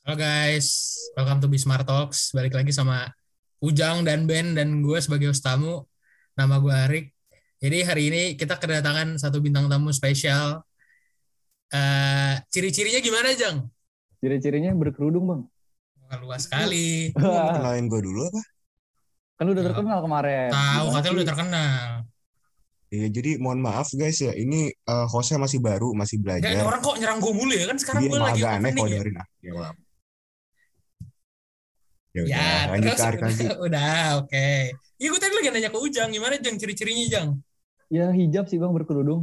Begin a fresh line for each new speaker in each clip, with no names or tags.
Halo guys, welcome to Bismar Talks. Balik lagi sama Ujang dan Ben dan gue sebagai host tamu. Nama gue Arik. Jadi hari ini kita kedatangan satu bintang tamu spesial. Eh, ciri-cirinya gimana, Jang?
Ciri-cirinya berkerudung bang.
Wah, Luas sekali.
Lu nggak mau kenalin gue dulu apa?
kan lu udah terkenal kemarin.
Eh,
Tahu
Gimana
katanya lu
sih?
udah terkenal.
Iya, jadi mohon maaf guys ya, ini eh, hostnya masih baru, masih
Gak Eh,
belajar.
orang kok nyerang gue mulu ya kan sekarang
Dia
gue lagi
agak aneh kalau
opening ya.
dengerin ah. Ya, maaf. Ya udah,
Ya,
lanjut
terus
ke Arik lagi.
udah, udah, oke. Ya gue tadi lagi nanya ke Ujang, gimana Jang ciri-cirinya Jang?
Ya hijab sih bang berkerudung.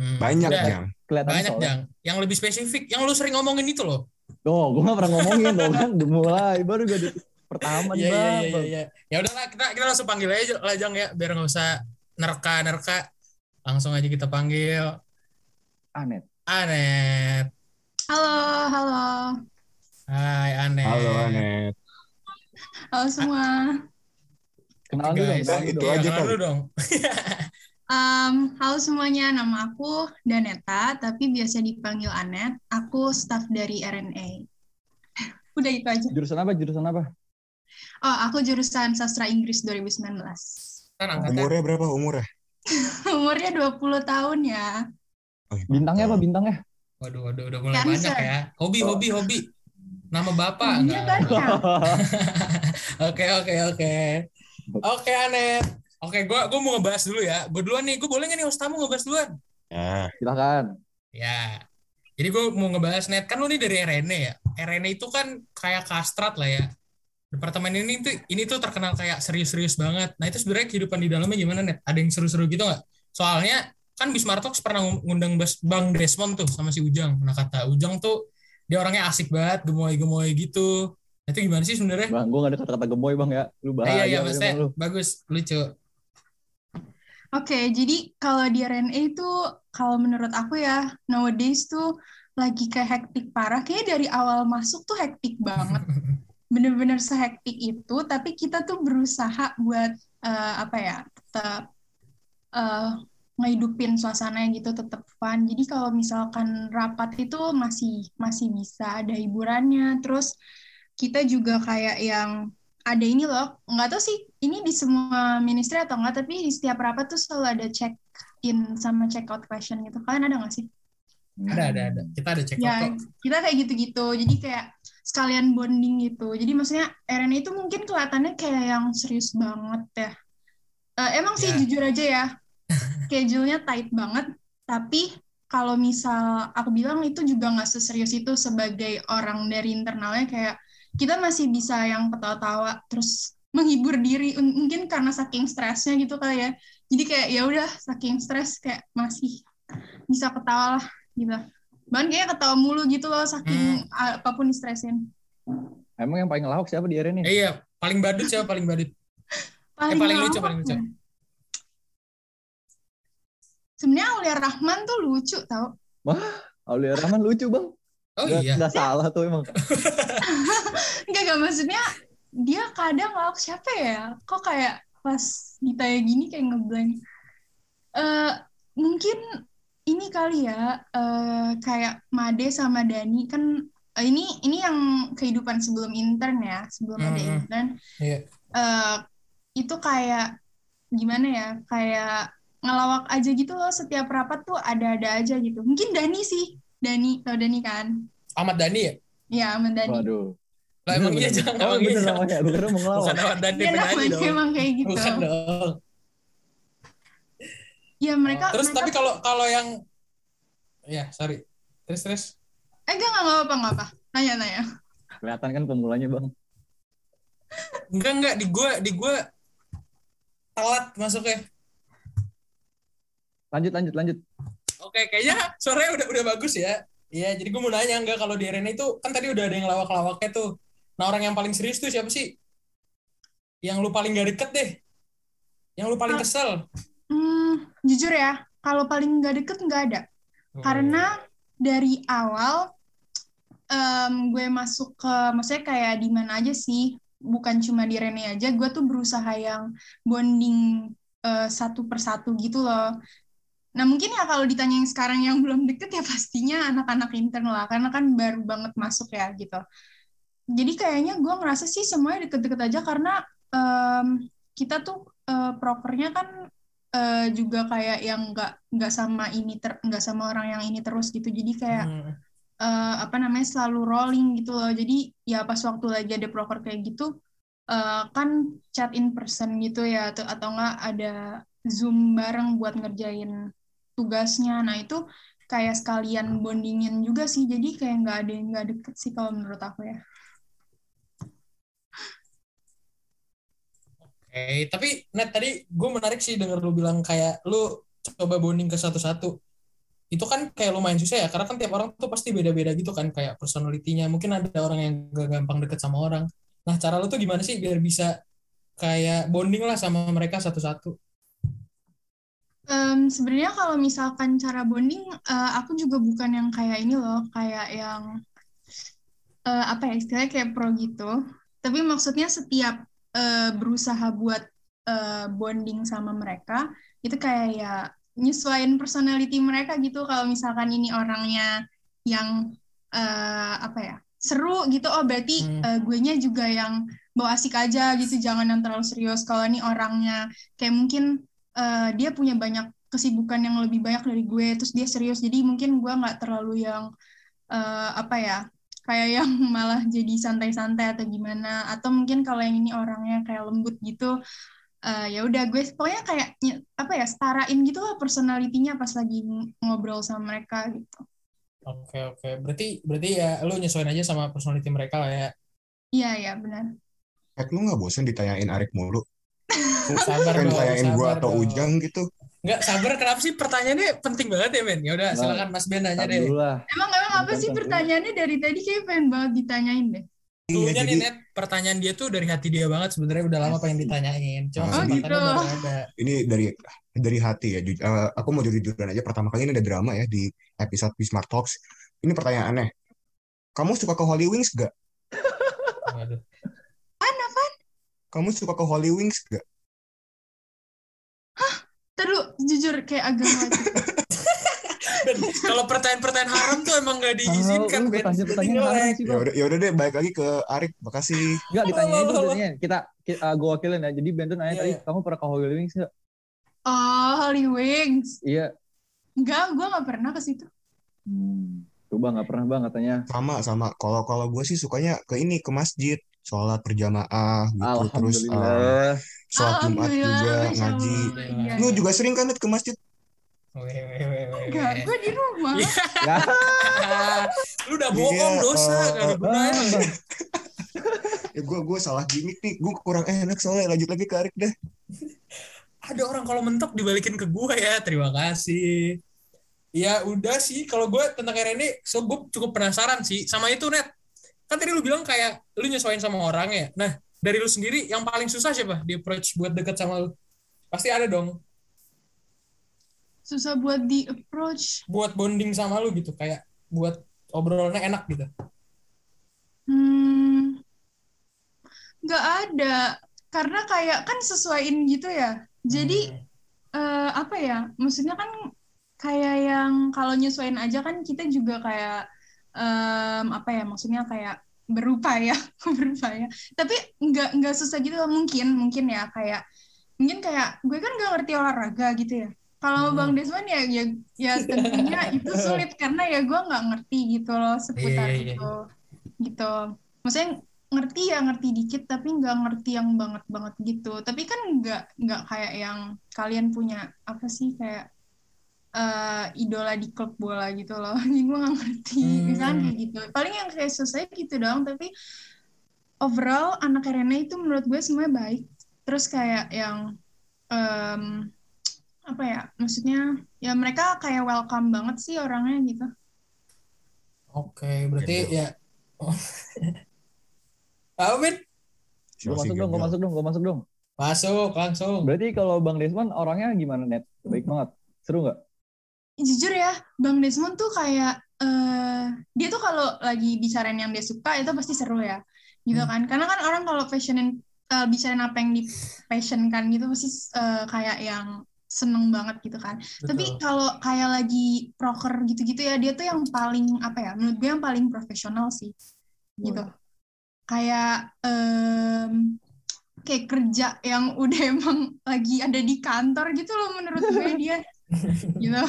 Hmm,
Banyak
udah.
yang.
Kelihatannya
Banyak
soleh.
Jang. Yang lebih spesifik, yang lu sering ngomongin itu loh.
Oh, gue gak pernah ngomongin dong kan. Udah mulai baru gue di pertama
Iya iya
nih bang.
iya iya. Ya udahlah kita kita langsung panggil aja lah Jang ya biar nggak usah nerka nerka. Langsung aja kita panggil
Anet.
Anet.
Halo, halo.
Hai Anet.
Halo, Anet.
Halo semua.
Kenalan
Oke,
dulu dong.
guys.
kenalan dulu
Itu
Iya,
dong.
aja
kenalan
kali.
lu dong.
Um, halo semuanya, nama aku Daneta, tapi biasa dipanggil Anet. Aku staff dari RNA. Udah itu aja.
Jurusan apa? Jurusan apa?
Oh, aku jurusan Sastra Inggris 2019.
Kan angkatan.
Umurnya berapa umurnya?
Umurnya 20 tahun ya.
Oh,
Bintangnya apa? Bintangnya?
Waduh waduh udah mulai
Cancer.
banyak ya. Hobi hobi hobi. Nama bapak
Umurnya
enggak?
banyak.
Oke oke oke. Oke Anet. Oke, gua gua mau ngebahas dulu ya. Gue duluan nih, gue boleh nggak nih host tamu ngebahas duluan?
Ya,
Silakan.
Ya. Jadi gue mau ngebahas net kan lu nih dari RNA ya. RNA itu kan kayak kastrat lah ya. Departemen ini tuh ini tuh terkenal kayak serius-serius banget. Nah, itu sebenarnya kehidupan di dalamnya gimana net? Ada yang seru-seru gitu nggak? Soalnya kan Bismar Talks pernah ngundang Bas- Bang Desmond tuh sama si Ujang. Nah, kata Ujang tuh dia orangnya asik banget, gemoy-gemoy gitu. Nah, itu gimana sih sebenarnya?
Bang, gue gak ada kata-kata gemoy bang ya. Lu bahaya.
Iya, iya,
bang,
maksudnya
lu.
bagus, lucu.
Oke, jadi kalau di RNA itu, kalau menurut aku ya, nowadays tuh lagi kayak hektik parah. Kayaknya dari awal masuk tuh hektik banget. Bener-bener sehektik itu, tapi kita tuh berusaha buat, eh, apa ya, tetap eh, ngehidupin suasananya gitu, tetap fun. Jadi kalau misalkan rapat itu masih masih bisa ada hiburannya. Terus kita juga kayak yang ada ini loh, nggak tahu sih ini di semua ministry atau enggak, tapi di setiap rapat tuh selalu ada check in sama check out question gitu. Kalian ada nggak sih?
Ada ada ada. Kita ada cek
Ya,
kok.
kita kayak gitu-gitu. Jadi kayak sekalian bonding gitu. Jadi maksudnya RNA itu mungkin kelihatannya kayak yang serius banget ya. Eh, emang sih
Ya.
jujur aja ya, schedule-nya tight banget. Tapi kalau misal aku bilang itu juga nggak seserius itu sebagai orang dari internalnya kayak kita masih bisa yang ketawa-tawa terus menghibur diri Un- mungkin karena saking stresnya gitu kali ya. Jadi kayak ya udah saking stres kayak masih bisa ketawa lah gitu. Bahkan kayak ketawa mulu gitu loh saking
Hmm.
apapun distresin.
Emang yang paling lahok siapa di area ini?
Eh, iya, paling badut siapa paling badut? Eh, paling lucu,
lama- ya?
paling lucu.
Sebenarnya Aulia Rahman tuh lucu tau.
Aulia Rahman lucu bang.
Oh
Nggak-
iya.
nggak salah tuh emang.
Enggak, enggak maksudnya dia kadang ngawak siapa ya? Kok kayak pas ditanya gini kayak ngeblank. Eh mungkin ini kali ya eh kayak Made sama Dani kan eh, ini ini yang kehidupan sebelum intern ya, sebelum ada
Mm-mm.
intern.
Iya.
Eh, itu kayak gimana ya? Kayak ngelawak aja gitu loh setiap rapat tuh ada-ada aja gitu. Mungkin Dani sih. Dani, tau Dani kan?
Ahmad Dhani ya?
Ya, sama Dani.
Waduh.
Lah emang iya
Bener-bener.
jangan
Emang
emang iya
bener oh,
jangan.
namanya. Lu kira mau ngelawak.
Bukan Ahmad Dhani
Iya,
penyanyi
namanya
dong.
emang kayak gitu.
Bukan dong.
Ya mereka
Terus tapi
mereka-
kalau kalau yang ya sorry. Terus terus.
eh enggak enggak apa enggak apa. Nanya nanya.
Kelihatan kan pemulanya bang.
Enggak enggak di gua di gua telat masuknya.
Lanjut lanjut lanjut.
Oke, kayaknya suaranya udah udah bagus ya. Iya, jadi gua mau nanya enggak kalau di arena itu kan tadi udah ada yang lawak-lawaknya tuh. Nah, orang yang paling serius tuh siapa sih? Yang lu paling gak deket deh. Yang lu paling kesel.
Hmm, jujur ya, kalau paling nggak deket nggak ada.
Hmm.
Karena dari awal em, gue masuk ke maksudnya kayak di mana aja sih, bukan cuma di Rene aja, gue tuh berusaha yang bonding eh, satu persatu gitu loh. Nah mungkin ya kalau ditanya yang sekarang yang belum deket ya pastinya anak-anak intern lah karena kan baru banget masuk ya gitu. Jadi kayaknya gue ngerasa sih semuanya deket-deket aja karena em, kita tuh eh, prokernya kan eh, juga kayak yang nggak nggak sama ini ter nggak sama orang yang ini terus gitu. Jadi kayak
Hmm.
eh, apa namanya selalu rolling gitu loh. Jadi ya pas waktu lagi ada proker kayak gitu eh, kan chat in person gitu ya atau atau enggak ada Zoom bareng buat ngerjain tugasnya. Nah, itu kayak sekalian bondingin juga sih. Jadi kayak nggak ada yang nggak deket sih kalau menurut aku ya.
Eh, tapi Nat tadi gue menarik sih denger lu bilang kayak lu coba bonding ke satu-satu. Itu kan kayak lumayan susah ya, karena kan tiap orang tuh pasti beda-beda gitu kan kayak personalitinya. Mungkin ada orang yang gak gampang deket sama orang. Nah, cara lu tuh gimana sih biar bisa kayak bonding lah sama mereka satu-satu?
Em, sebenarnya kalau misalkan cara bonding, eh, aku juga bukan yang kayak ini loh, kayak yang eh, apa ya istilahnya kayak pro gitu. Tapi maksudnya setiap eh, berusaha buat eh, bonding sama mereka itu kayak ya nyesuaiin personality mereka gitu. Kalau misalkan ini orangnya yang eh, apa ya seru gitu, oh berarti
Hmm.
gue nya juga yang bawa asik aja gitu, jangan yang terlalu serius. Kalau ini orangnya kayak mungkin eh, dia punya banyak kesibukan yang lebih banyak dari gue terus dia serius jadi mungkin gue nggak terlalu yang eh, apa ya kayak yang malah jadi santai-santai atau gimana atau mungkin kalau yang ini orangnya kayak lembut gitu eh, ya udah gue pokoknya kayak nye- apa ya setarain gitu lah personalitinya pas lagi ng- ngobrol sama mereka gitu
Oke, oke. Berarti berarti ya lu nyesuaiin aja sama personality mereka lah ya.
iya ya benar
Kayak lu nggak bosen ditanyain Arik mulu?
Sabar
Kan
dong,
ditanyain
sabar
gua atau
dong.
Ujang gitu.
Nggak, sabar kenapa sih? Pertanyaannya penting banget ya, Men. Ya udah,
Nah,
silakan Mas Ben nanya
Ntar
deh.
dulu lah.
emang emang apa
Bentar,
sih
bentar.
pertanyaannya dari tadi kayak pengen banget ditanyain deh
Iya,
Dulunya
jadi
nih Net, pertanyaan dia tuh dari hati dia banget sebenarnya udah lama pengen ditanyain. Cuma
Oh,
kesempatannya
gitu.
udah nggak ada.
ini dari dari hati ya. Ju- eh, aku mau jujur-jujuran aja. Pertama kali ini ada drama ya di episode Bismarck Talks. Ini pertanyaan aneh. Kamu suka ke Holy Wings gak?
Waduh.
Kamu suka ke Holy Wings gak?
terus jujur kayak agama
Ben, kalau pertanyaan-pertanyaan haram tuh emang gak diizinkan,
Tahu, lu
Ben.
kasih pertanyaan
Jelek.
Iya,
haram sih,
Ya
Bang.
udah, ya udah deh. Balik lagi ke Arik. Makasih.
Enggak ditanyain
Loh,
itu
loh, loh.
jadinya. Kita, kita gue wakilin ya. Jadi Benton nanya
Iya,
tadi,
iya.
kamu pernah ke Holy Wings nggak?
oh Holy Wings
Iya.
enggak gue nggak pernah ke situ
Hmm. Coba nggak pernah bang katanya.
Sama sama. Kalau kalau gue sih sukanya ke ini ke masjid, sholat berjamaah gitu. Terus eh,
Alhamdulillah. Ah,
sholat Jumat juga
Alhamdulillah, Masya
ngaji.
Allah. Iya,
Lu
iya.
juga sering kan Net, ke masjid?
Weh, weh, weh, weh,
Enggak,
weh.
gue di rumah.
Iya.
ya.
Lu udah bohong
Iya,
dosa,
oh,
eh,
gak ada
Bang,
gunanya.
Bang.
Ya, gue gue salah gimmick nih. Gue kurang enak soalnya. Lanjut lagi ke Arik deh.
Ada orang kalau mentok dibalikin ke gue ya, terima kasih. Ya udah sih, kalau gue tentang RND, so gue cukup penasaran sih. Sama itu, Net. Kan tadi lu bilang kayak lu nyesuaiin sama orang ya. Nah, dari lu sendiri yang paling susah siapa di approach buat deket sama lu? Pasti ada dong.
Susah buat di approach.
buat bonding sama lu gitu kayak buat obrolannya enak gitu
Hmm, nggak ada. Karena kayak kan sesuaiin gitu ya. Jadi
Hmm.
eh, apa ya? Maksudnya kan kayak yang kalau nyesuaiin aja kan kita juga kayak em, apa ya? Maksudnya kayak berupaya, berupaya. Tapi nggak nggak susah gitu loh. mungkin mungkin ya kayak mungkin kayak gue kan nggak ngerti olahraga gitu ya. Kalau
Hmm.
Bang Desmond ya ya ya tentunya itu sulit karena ya gue nggak ngerti gitu loh seputar
Iya, iya, iya.
itu gitu. Maksudnya ngerti ya ngerti dikit tapi nggak ngerti yang banget banget gitu. Tapi kan nggak nggak kayak yang kalian punya apa sih kayak eh, idola di klub bola gitu loh. Ini gue nggak ngerti
Hmm.
misalnya kayak gitu. Paling yang kayak susah gitu doang tapi overall anak Rene itu menurut gue semuanya baik. Terus kayak yang em, apa ya maksudnya ya mereka kayak welcome banget sih orangnya gitu
oke berarti ya Oh. Amin
Gue masuk dong, gue masuk dong, gue masuk dong.
masuk langsung
Berarti kalau Bang Desmond orangnya gimana net? Baik banget. Seru nggak?
jujur ya Bang Desmond tuh kayak eh dia tuh kalau lagi bicarain yang dia suka itu pasti seru ya gitu
Hmm.
kan karena kan orang kalau passionin eh, bicarain apa yang di passionkan gitu pasti eh, kayak yang seneng banget gitu kan. Tapi
Betul.
kalau kayak lagi proker gitu-gitu ya, dia tuh yang paling apa ya? Menurut gue yang paling profesional sih, gitu. Kayak em, kayak kerja yang udah emang lagi ada di kantor gitu loh menurut gue dia, gitu.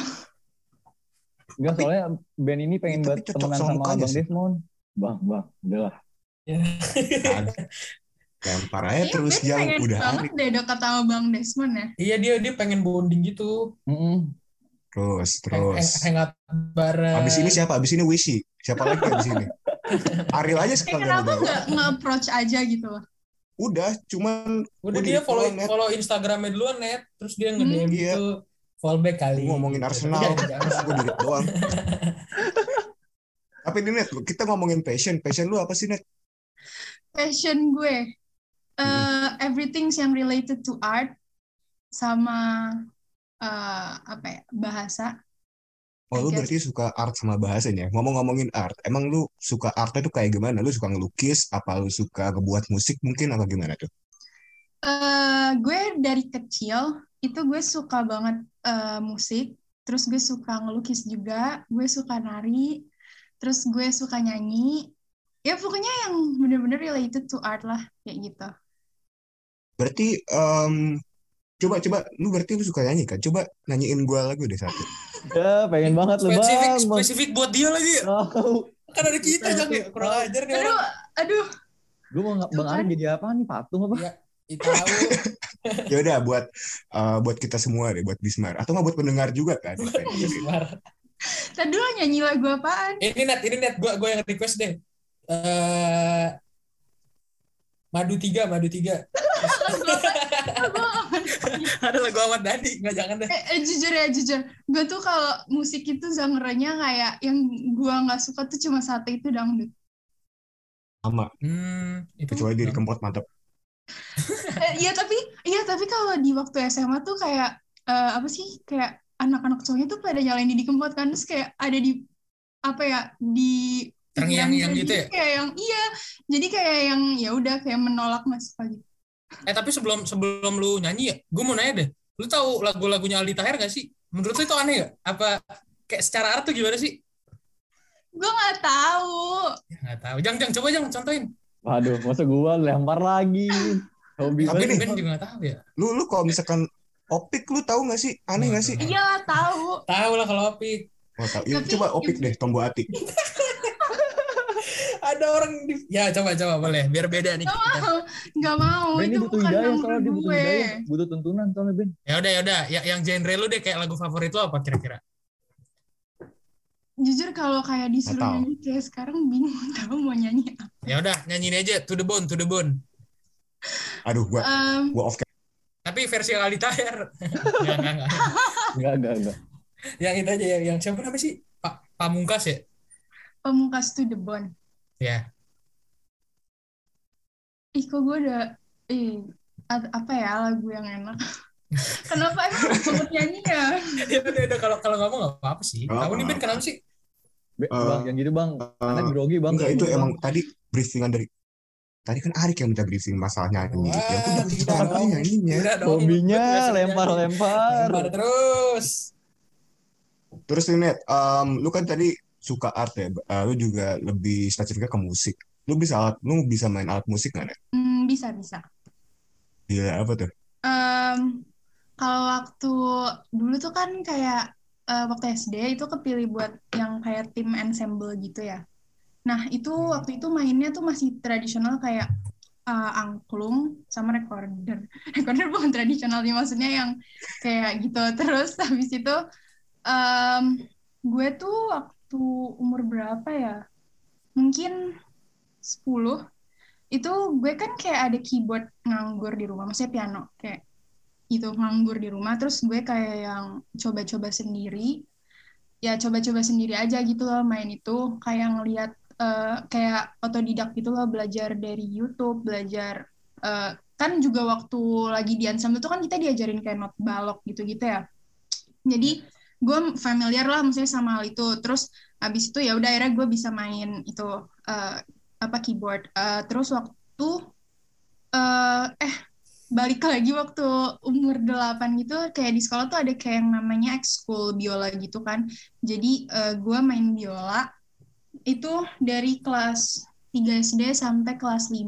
Enggak
Tapi-
soalnya band ini pengen
tapi
banget
cocok
temenan
sama
sama
mukanya
Bang
sih.
Desmond. Bang, bang, udahlah.
Lempar aja
Iya,
Eh, terus
Ben
yang
pengen
udah
banget deh dekat sama Bang Desmond ya.
iya dia dia pengen bonding gitu
Mm-mm.
terus
hang,
terus.
hang- hangout bareng
Abis ini siapa? Abis ini Wishi. Siapa lagi abis ini? Ariel aja
Eh,
sekalian
kenapa
udah.
nggak nge-approach aja gitu loh?
Udah, cuman
udah
Gua
dia
di
follow
follow, Net.
follow Instagramnya duluan net terus dia nge DM
Hmm, iya.
gitu fallback kali
Gua ngomongin Arsenal.
Jangan, jangan.
gue duit doang. Tapi ini net, kita ngomongin passion. Passion lu apa sih net?
Passion gue, eh
Mm-mm.
everything yang related to art sama eh, apa ya bahasa.
Oh, lu
Oke.
berarti suka art sama bahasanya. Ngomong-ngomongin art, emang lu suka artnya tuh kayak gimana? Lu suka ngelukis? Apa lu suka ngebuat musik mungkin? Apa gimana tuh?
eh gue dari kecil itu gue suka banget eh, musik, terus gue suka ngelukis juga, gue suka nari, terus gue suka nyanyi. Ya pokoknya yang bener-bener related to art lah, kayak gitu.
Berarti, em, coba, coba, lu berarti lu suka nyanyi kan? Coba nyanyiin gua lagu deh satu.
Ya, pengen banget lu, Bang. Oh.
spesifik
Bang.
spesifik buat dia lagi
Tahu.
kan ada kita jangan ya kurang ajar nih orang
Aduh, aduh,
Gue mau nggak- Bang Ari jadi apa nih? Patung apa?
Ih, tahu
ya udah buat eh, buat kita semua deh buat Bismar atau nggak buat pendengar juga kan
Bismar.
tadi dulu nyanyi lagu apaan?
ini net ini net gua gua yang request deh Eh, madu tiga madu tiga
kan
ada lagu Ahmad Dhani nggak jangan deh
Eh, eh, jujur ya jujur gue tuh kalau musik itu genre-nya kayak yang gue nggak suka tuh cuma satu itu dangdut
sama
hmm, itu
kecuali jadi kempot mantap
Eh, iya tapi iya tapi kalau di waktu SMA tuh kayak eh, apa sih kayak anak-anak cowoknya tuh pada nyalain Didi Kempot kan terus kayak ada di apa ya di pikiran
Terngiang-ngiang
gue,
gitu
jadi
ya?
kayak yang iya jadi kayak yang ya udah kayak menolak masuk lagi
eh tapi sebelum sebelum lu nyanyi ya gue mau nanya deh lu tahu lagu-lagunya Aldi Taher gak sih menurut lu itu aneh gak apa kayak secara art tuh gimana sih
gue nggak tahu
ya, nggak tahu jang jang coba jang contohin
Waduh, masa gua lempar lagi. Hobi
Ben,
banget.
Tapi nih-
ben juga gak tahu ya
lu lu kalau misalkan opik lu tahu nggak sih aneh nggak sih
iya lah tahu
tahu lah kalau api
oh, tahu. Ya,
Tapi-
coba opik deh tombol atik
ada orang di... ya coba coba boleh biar beda nih kita.
nggak mau
Ben, ini
itu
butuh
bukan
hidayah
genre
soalnya dia butuh
gue
hidayah. Butuh tuntunan soalnya Ben.
ya udah ya udah ya, yang genre lu deh kayak lagu favorit lu apa kira-kira
jujur kalau kayak disuruh
Nggak tahu.
nyanyi kayak sekarang bingung tahu mau nyanyi apa.
ya udah nyanyiin aja to the bone to the bone
aduh gua
Em,
gua off cam-
tapi versi Aldi Taher Nggak, nggak, nggak.
Enggak, enggak, enggak.
yang itu aja yang, yang siapa namanya sih Pak Pamungkas ya
pemungkas to the bone.
ya
Ih kok gue udah eh a- apa ya lagu yang enak. Kenapa emang sempat nyanyi ya?
ya udah udah kalau kalau ngomong nggak apa-apa sih
Nggak
kamu nih Ben
apa-apa.
kenapa sih
Be-
Eh,
bang, yang gitu bang. Anak
Eh,
grogi bang.
enggak
Kayak
itu
gitu,
emang
Bang.
tadi briefingan dari tadi kan Arik yang minta briefing masalahnya ini ya udah
Wah,
kita
gila dong.
nyanyinya
Udah dong,
Hobinya
gua biasa nyanyi.
lempar-lempar.
Lempar terus
terus nih net em, lu kan tadi suka art ya Eh, lu juga lebih spesifiknya ke musik lu bisa alat lu bisa main alat musik nggak net
Hmm, bisa bisa.
Gila, apa tuh
Em, kalau waktu dulu tuh kan kayak eh, waktu SD itu kepilih buat yang kayak tim ensemble gitu ya. Nah itu waktu itu mainnya tuh masih tradisional kayak eh, angklung sama recorder. Recorder bukan tradisional sih maksudnya yang kayak gitu. Terus habis itu em, gue tuh waktu umur berapa ya? Mungkin 10 itu gue kan kayak ada keyboard nganggur di rumah, maksudnya piano kayak itu gitu, nganggur di rumah. Terus gue kayak yang coba-coba sendiri, ya coba-coba sendiri aja gitu loh main itu. Kayak ngeliat eh, kayak otodidak gitu loh belajar dari YouTube, belajar eh, kan juga waktu lagi di ensemble itu kan kita diajarin kayak not balok gitu-gitu ya. Jadi gue familiar lah maksudnya sama hal itu. Terus abis itu ya udah akhirnya gue bisa main itu eh, apa keyboard. Eh, terus waktu eh eh balik lagi waktu umur 8 gitu kayak di sekolah tuh ada kayak yang namanya ekskul biola gitu kan. Jadi eh, gua main biola itu dari kelas 3 SD sampai kelas 5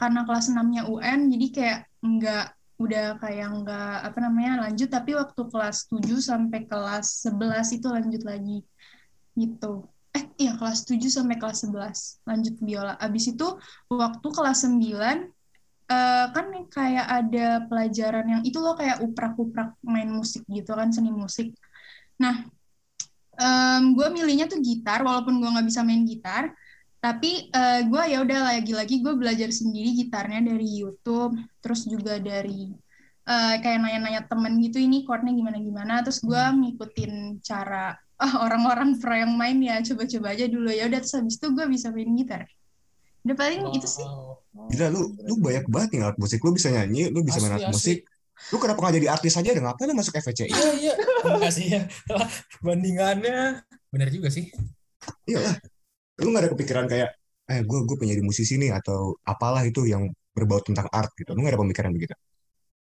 karena kelas 6-nya UN jadi kayak nggak udah kayak nggak apa namanya lanjut tapi waktu kelas 7 sampai kelas 11 itu lanjut lagi gitu. Eh iya kelas 7 sampai kelas 11 lanjut biola. Abis itu waktu kelas 9 eh, kan kayak ada pelajaran yang itu loh kayak uprak-uprak main musik gitu kan seni musik. Nah, gue milihnya tuh gitar walaupun gue nggak bisa main gitar, tapi gue ya udah lagi-lagi gue belajar sendiri gitarnya dari YouTube, terus juga dari eh, kayak nanya-nanya temen gitu ini chordnya gimana-gimana, terus gue ngikutin cara ah, orang-orang pro yang main ya coba-coba aja dulu ya udah terus habis itu gue bisa main gitar. Udah paling itu gitu sih.
Wow.
Gila lu lu banyak banget nih alat musik. Lu bisa nyanyi, lu bisa
Asli,
main
asli.
alat musik. Lu kenapa nggak jadi artis aja? Dan ngapain lu masuk FVCI?
Iya iya. Makasih ya. Bandingannya benar juga sih.
Iya lah. Lu nggak ada kepikiran kayak eh gue gue pengen jadi musisi nih atau apalah itu yang berbau tentang art gitu. Lu nggak ada pemikiran begitu?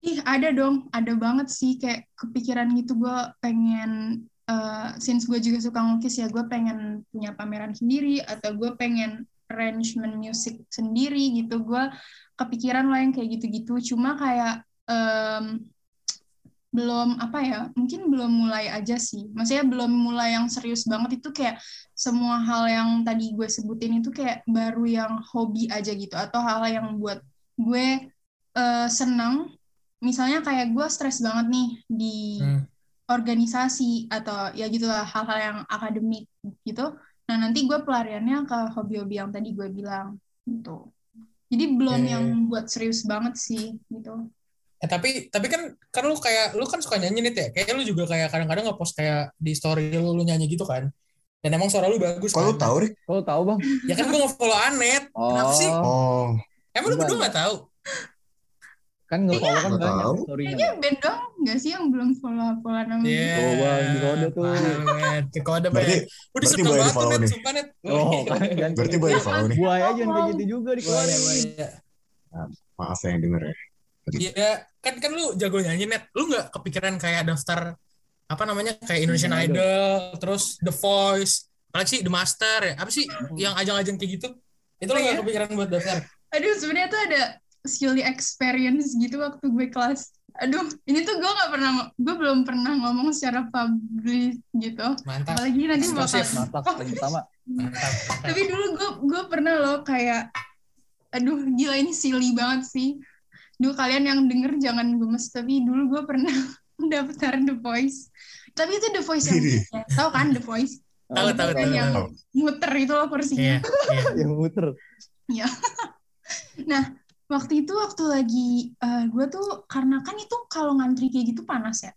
Ih, ada dong, ada banget sih kayak kepikiran gitu gue pengen eh, since gue juga suka ngelukis ya gue pengen punya pameran sendiri atau gue pengen arrangement music sendiri gitu gue kepikiran lah yang kayak gitu-gitu cuma kayak em, belum apa ya mungkin belum mulai aja sih maksudnya belum mulai yang serius banget itu kayak semua hal yang tadi gue sebutin itu kayak baru yang hobi aja gitu atau hal yang buat gue eh, seneng misalnya kayak gue stres banget nih di
Hmm.
organisasi atau ya gitulah hal-hal yang akademik gitu. Nah nanti gue pelariannya ke hobi-hobi yang tadi gue bilang gitu. Jadi belum
Ya, ya,
yang buat serius banget sih gitu.
Eh tapi tapi kan kan lu kayak lu kan suka nyanyi nih ya. Kayak lu juga kayak kadang-kadang nge-post kayak di story lu, lu nyanyi gitu kan. Dan emang suara lu bagus
Kalau lu
kan.
tahu Rik?
Kau tahu bang?
Ya kan gua nge-follow Anet. Kenapa sih?
Oh,
Oh,
Emang lu
Enggak,
berdua nggak tahu?
kan nggak follow kan
Nggak
banyak
tahu.
story-nya.
Kayaknya band dong nggak sih yang belum follow-follow namanya?
Iya.
Tuh, Bang, di kode tuh.
Parah, Net. Di kode
berarti
banget. Udah
berarti
suka
boleh
banget tuh,
di-follow
Net.
nih.
Sumpah, Net.
Oh, kan ganti.
berarti boleh di follow nih.
Buaya jangan kayak gitu juga
iya,
Boleh,
dikeluarin.
boleh.
Maaf ya yang denger ya.
Iya, kan kan lu jago nyanyi net. Lu nggak kepikiran kayak daftar apa namanya kayak Indonesian
Iya,
Indonesian
Idol, terus The Voice, apa sih The Master ya? Apa sih yang ajang-ajang kayak gitu? Itu lu nggak
Oh, Hmm. iya?
kepikiran buat daftar.
Aduh sebenarnya tuh ada silly experience gitu waktu gue kelas. Aduh ini tuh gue nggak pernah gue belum pernah ngomong secara publik gitu.
Mantap.
Apalagi nanti bakal
Eksplosif.
Masak
Oh.
yang pertama.
Mantap.
tapi dulu gue gue pernah loh kayak aduh gila ini silly banget sih dulu kalian yang denger jangan gemes tapi dulu gue pernah daftar The Voice tapi itu The Voice yang
Ini.
ya, tahu kan The Voice
Tahu, tahu,
kan
tahu.
yang muter itu loh
Iya,
kursinya
iya.
Yang muter.
waktu itu waktu lagi eh, gue tuh karena kan itu kalau ngantri kayak gitu panas ya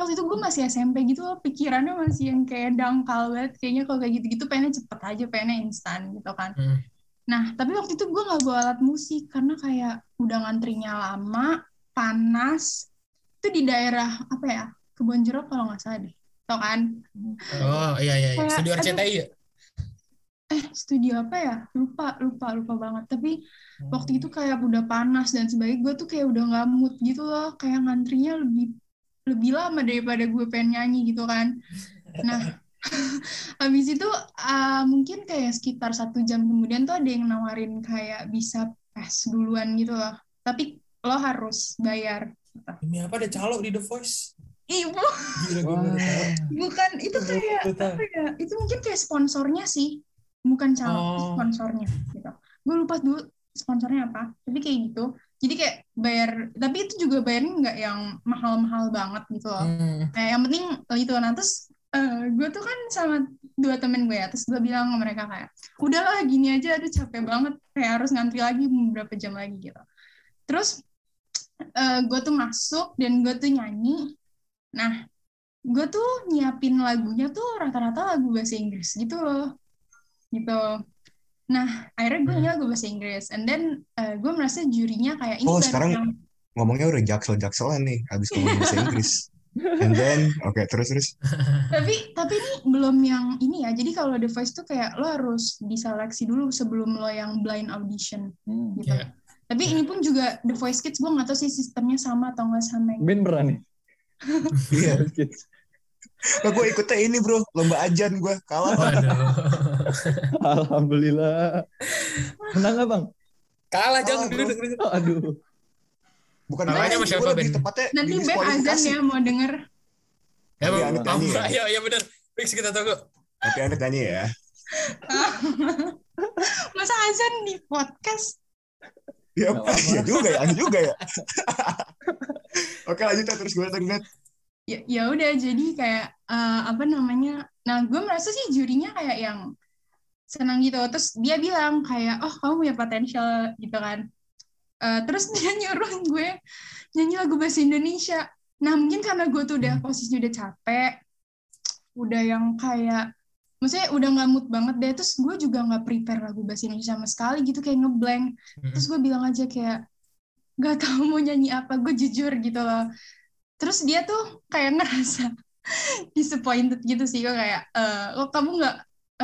waktu itu gue masih SMP gitu loh pikirannya masih yang kayak dangkal banget kayaknya kalau kayak gitu-gitu pengennya cepet aja pengennya instan gitu kan
Hmm.
Nah, tapi waktu itu gue nggak bawa alat musik karena kayak udah ngantrinya lama, panas. Itu di daerah apa ya? Kebon Jeruk kalau nggak salah deh. Tau kan?
Oh, iya iya iya.
Kayak,
Studio
aduh.
RCTI ya?
Eh, studio apa ya? Lupa, lupa, lupa banget. Tapi waktu itu kayak udah panas dan sebagainya. Gue tuh kayak udah nggak mood gitu loh. Kayak ngantrinya lebih lebih lama daripada gue pengen nyanyi gitu kan. Nah, habis itu ah, mungkin kayak sekitar satu jam kemudian tuh ada yang nawarin kayak bisa tes duluan gitu loh. Tapi lo harus bayar.
Ini apa ada calo di The Voice?
Ibu,
Gila gue
Wah.
baru tahu.
bukan itu kayak
Gua tahu.
apa ya? Itu mungkin kayak sponsornya sih, bukan calon
Oh.
sponsornya gitu. Gue lupa dulu sponsornya apa, tapi kayak gitu. Jadi kayak bayar, tapi itu juga bayarnya nggak yang mahal-mahal banget gitu loh.
Hmm.
Iya.
Nah, yang penting itu nah terus eh, gue tuh kan sama dua temen gue ya terus gue bilang ke mereka kayak udahlah gini aja aduh capek banget kayak harus ngantri lagi beberapa jam lagi gitu terus eh, gue tuh masuk dan gue tuh nyanyi nah gue tuh nyiapin lagunya tuh rata-rata lagu bahasa Inggris gitu loh gitu nah akhirnya
Hmm.
gue nyanyi lagu bahasa Inggris and then eh, gue merasa jurinya kayak ini
Oh,
baru
sekarang
yang
Ngomongnya udah jaksel-jakselan nih abis ngomong bahasa Inggris. And then, oke terus terus.
tapi tapi ini belum yang ini ya jadi kalau The Voice tuh kayak lo harus diseleksi dulu sebelum lo yang blind audition
Hmm.
gitu
Iya.
Tapi ini pun juga The Voice Kids gue nggak tahu sih sistemnya sama atau nggak sama. yang-
Bin berani.
Iya. Nah, gue ikutnya ini bro, lomba ajan gue kalah.
Waduh.
Alhamdulillah. Menang nggak bang?
Kalah jangan
Kalah, bro.
duduk, duduk.
Aduh.
Bukan
Kalahnya
kalah
sama
sih,
siapa,
gua lebih
Ben?
tepatnya
Nanti
di
Ben azan
diskualifikasi.
ya mau denger.
Ya,
Iya,
Tapi
Bang.
Anet nyanyi ya.
Ayo, ya benar. Fix kita tunggu.
Tapi Anet nyanyi ya.
Masa azan di podcast?
Ya,
Nggak apa-apa.
ya juga ya, aneh juga ya. Oke lanjut ya, terus gue tanya Net.
ya ya udah jadi kayak eh, apa namanya nah gue merasa sih jurinya kayak yang senang gitu terus dia bilang kayak oh kamu punya potensial gitu kan Eh, terus dia nyuruh gue nyanyi lagu bahasa Indonesia nah mungkin karena gue tuh udah posisinya udah capek udah yang kayak maksudnya udah nggak mood banget deh terus gue juga nggak prepare lagu bahasa Indonesia sama sekali gitu kayak ngeblank terus gue bilang aja kayak gak tahu mau nyanyi apa gue jujur gitu loh terus dia tuh kayak ngerasa disappointed gitu sih gue kayak eh oh kamu nggak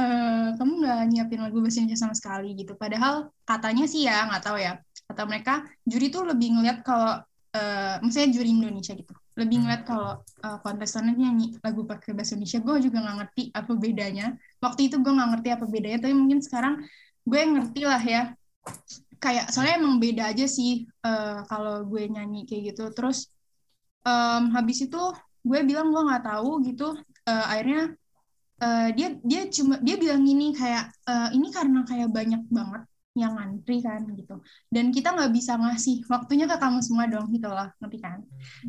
eh kamu nggak nyiapin lagu bahasa Indonesia sama sekali gitu padahal katanya sih ya nggak tahu ya kata mereka juri tuh lebih ngeliat kalau eh misalnya juri Indonesia gitu lebih ngeliat kalau eh, kontestannya nyanyi lagu pakai bahasa Indonesia gue juga nggak ngerti apa bedanya waktu itu gue nggak ngerti apa bedanya tapi mungkin sekarang gue ngerti lah ya kayak soalnya emang beda aja sih eh, kalau gue nyanyi kayak gitu terus em, habis itu gue bilang gue nggak tahu gitu Eh, akhirnya eh, dia dia cuma dia bilang gini kayak eh, ini karena kayak banyak banget yang ngantri kan gitu dan kita nggak bisa ngasih waktunya ke kamu semua dong gitu loh ngerti kan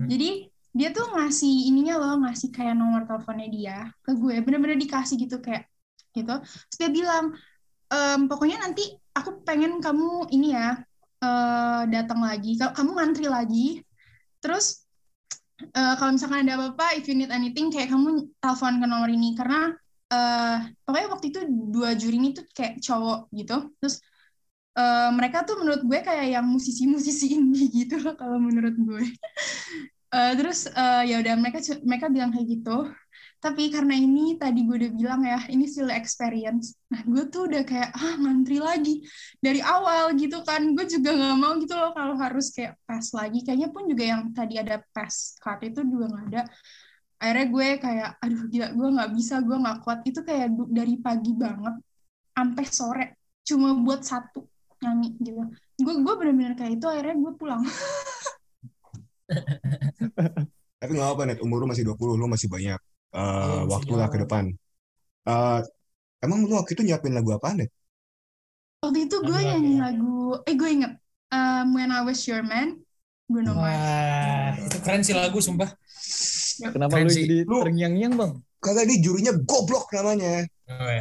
jadi dia tuh ngasih ininya loh, ngasih kayak nomor teleponnya dia ke gue. Bener-bener dikasih gitu kayak gitu. Terus dia bilang, "Em, pokoknya nanti aku pengen kamu ini ya eh, datang lagi. Ka- Kamu ngantri lagi. Terus eh, kalau misalkan ada apa-apa, if you need anything, kayak kamu telepon ke nomor ini karena eh pokoknya waktu itu dua juri ini tuh kayak cowok gitu. Terus eh, mereka tuh menurut gue kayak yang musisi-musisi indie gitu loh kalau menurut gue. Eh, terus eh, ya udah mereka cu- mereka bilang kayak gitu tapi karena ini tadi gue udah bilang ya ini still experience nah gue tuh udah kayak ah ngantri lagi dari awal gitu kan gue juga nggak mau gitu loh kalau harus kayak pass lagi kayaknya pun juga yang tadi ada pass card itu juga nggak ada akhirnya gue kayak aduh gila gue nggak bisa gue nggak kuat itu kayak du- dari pagi banget sampai sore cuma buat satu nyanyi gitu gue gue bener-bener kayak itu akhirnya gue pulang
Tapi nggak apa Net, umur lu masih 20, lu masih banyak eh,
Iya, masih
waktu lah
jauh.
ke depan. Eh, emang lu waktu itu nyiapin lagu apa Net?
Waktu itu gue
Lagu-lagu.
nyanyi lagu, eh gue inget, um, When I Was Your Man, Bruno Mars.
Wah, itu keren sih lagu sumpah.
Kenapa
Keren
lu
sih.
jadi
Lu-
terngiang-ngiang bang?
Kagak ini jurinya goblok namanya.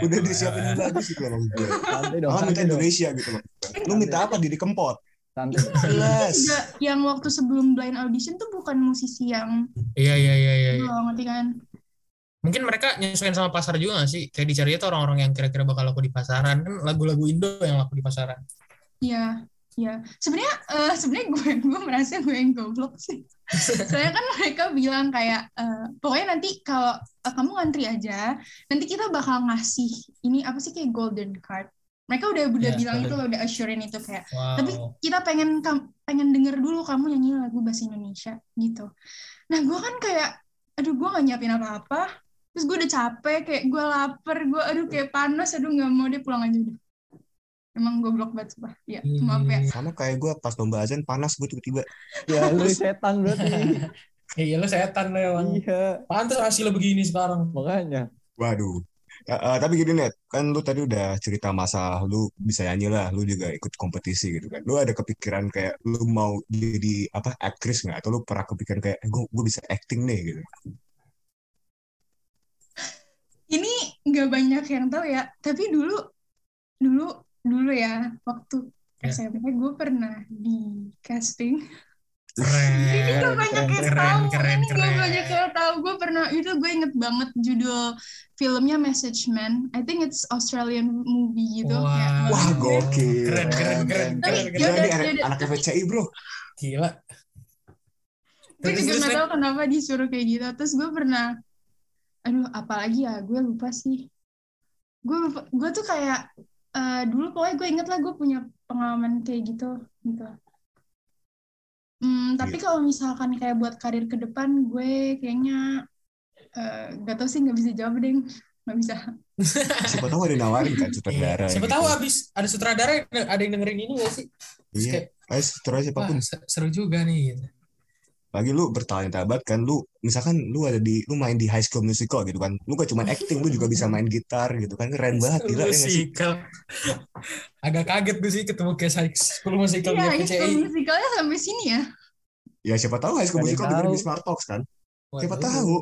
Udah disiapin lagu sih kalau maksud gue.
Santai dong.
Malah minta
Santai dong.
Indonesia gitu loh. Lu minta apa diri kempot?
Santai.
Itu itu
Jelas.
juga yang waktu sebelum blind audition tuh bukan musisi yang
Iya, iya, iya, iya. iya.
lo ngerti kan?
Mungkin mereka nyesuaiin sama pasar juga gak sih? Kayak dicari tuh orang-orang yang kira-kira bakal laku di pasaran. Kan lagu-lagu Indo yang laku di pasaran.
Iya, iya. Sebenarnya eh, sebenarnya gue gue merasa gue yang goblok sih. Soalnya kan mereka bilang kayak eh, pokoknya nanti kalau eh, kamu ngantri aja, nanti kita bakal ngasih ini apa sih kayak golden card. Mereka udah udah
Iya,
bilang
golden.
itu loh, udah assurein itu kayak
Wow.
Tapi kita pengen kam- pengen denger dulu kamu nyanyi lagu bahasa Indonesia gitu. Nah gue kan kayak, aduh gue gak nyiapin apa-apa. Terus gue udah capek, kayak gue lapar, gue aduh kayak panas, aduh gak mau deh pulang aja udah. Emang goblok banget, sumpah. Ya,
Iya,
maaf ya.
Sama kayak gue pas lomba azan panas gue tiba-tiba.
Ya lu setan berarti.
Iya, iya, lo setan lo emang.
Iya.
Pantes hasil lo begini sekarang.
Makanya.
Waduh. Ya, eh, tapi gini Net, kan lu tadi udah cerita masa lu bisa nyanyi lah, lu juga ikut kompetisi gitu kan. Lu ada kepikiran kayak lu mau jadi apa aktris nggak? Atau lu pernah kepikiran kayak gue gue bisa acting nih gitu?
Ini gak banyak yang tahu ya, tapi dulu, dulu, dulu ya, waktu
Ya.
SMP gue pernah di casting Ini
Keren.
tuh banyak yang
keren,
tahu.
keren,
ini gak
keren.
banyak yang tahu. Gue pernah itu gue inget banget judul filmnya Message Man. I think it's Australian movie gitu. Kayak,
Wah,
Wah,
menurut gue-
gokil.
Keren, keren, keren, keren,
Tapi,
ya
keren.
Gila
udah,
nih anak,
ya udah.
anak FCI bro.
Gila.
Gue
Terus,
juga
terus,
gak
Net.
tahu kenapa disuruh kayak gitu. Terus gue pernah, aduh, apalagi ya? Gue lupa sih. Gue lupa. Gue tuh kayak eh, dulu pokoknya gue inget lah gue punya pengalaman kayak gitu gitu. Hmm,
Iya.
tapi kalau misalkan kayak buat karir ke depan, gue kayaknya eh, nggak tahu sih nggak bisa jawab deh, nggak bisa.
Siapa tahu ada yang nawarin kan
Iya.
sutradara.
Siapa
gitu.
tahu abis ada sutradara yang- ada yang dengerin ini gak sih? Terus
Iya.
kayak,
Eh, sutradara
wah,
siapapun.
se- seru juga nih. Gitu.
Lagi lu bertalenta banget kan lu misalkan lu ada di lu main di High School Musical gitu kan. Lu gak cuma acting, lu juga bisa main gitar gitu kan. Keren banget gila ya nggak sih?
Musical. Agak kaget gue sih ketemu kayak Sykes. Kalau musical
Iya,
di
itu
PCI.
musikalnya sampai sini ya.
Ya siapa tahu High School
Nggak
Musical dengerin
tahu.
di Smart Talks kan. Siapa
Waduh.
tahu.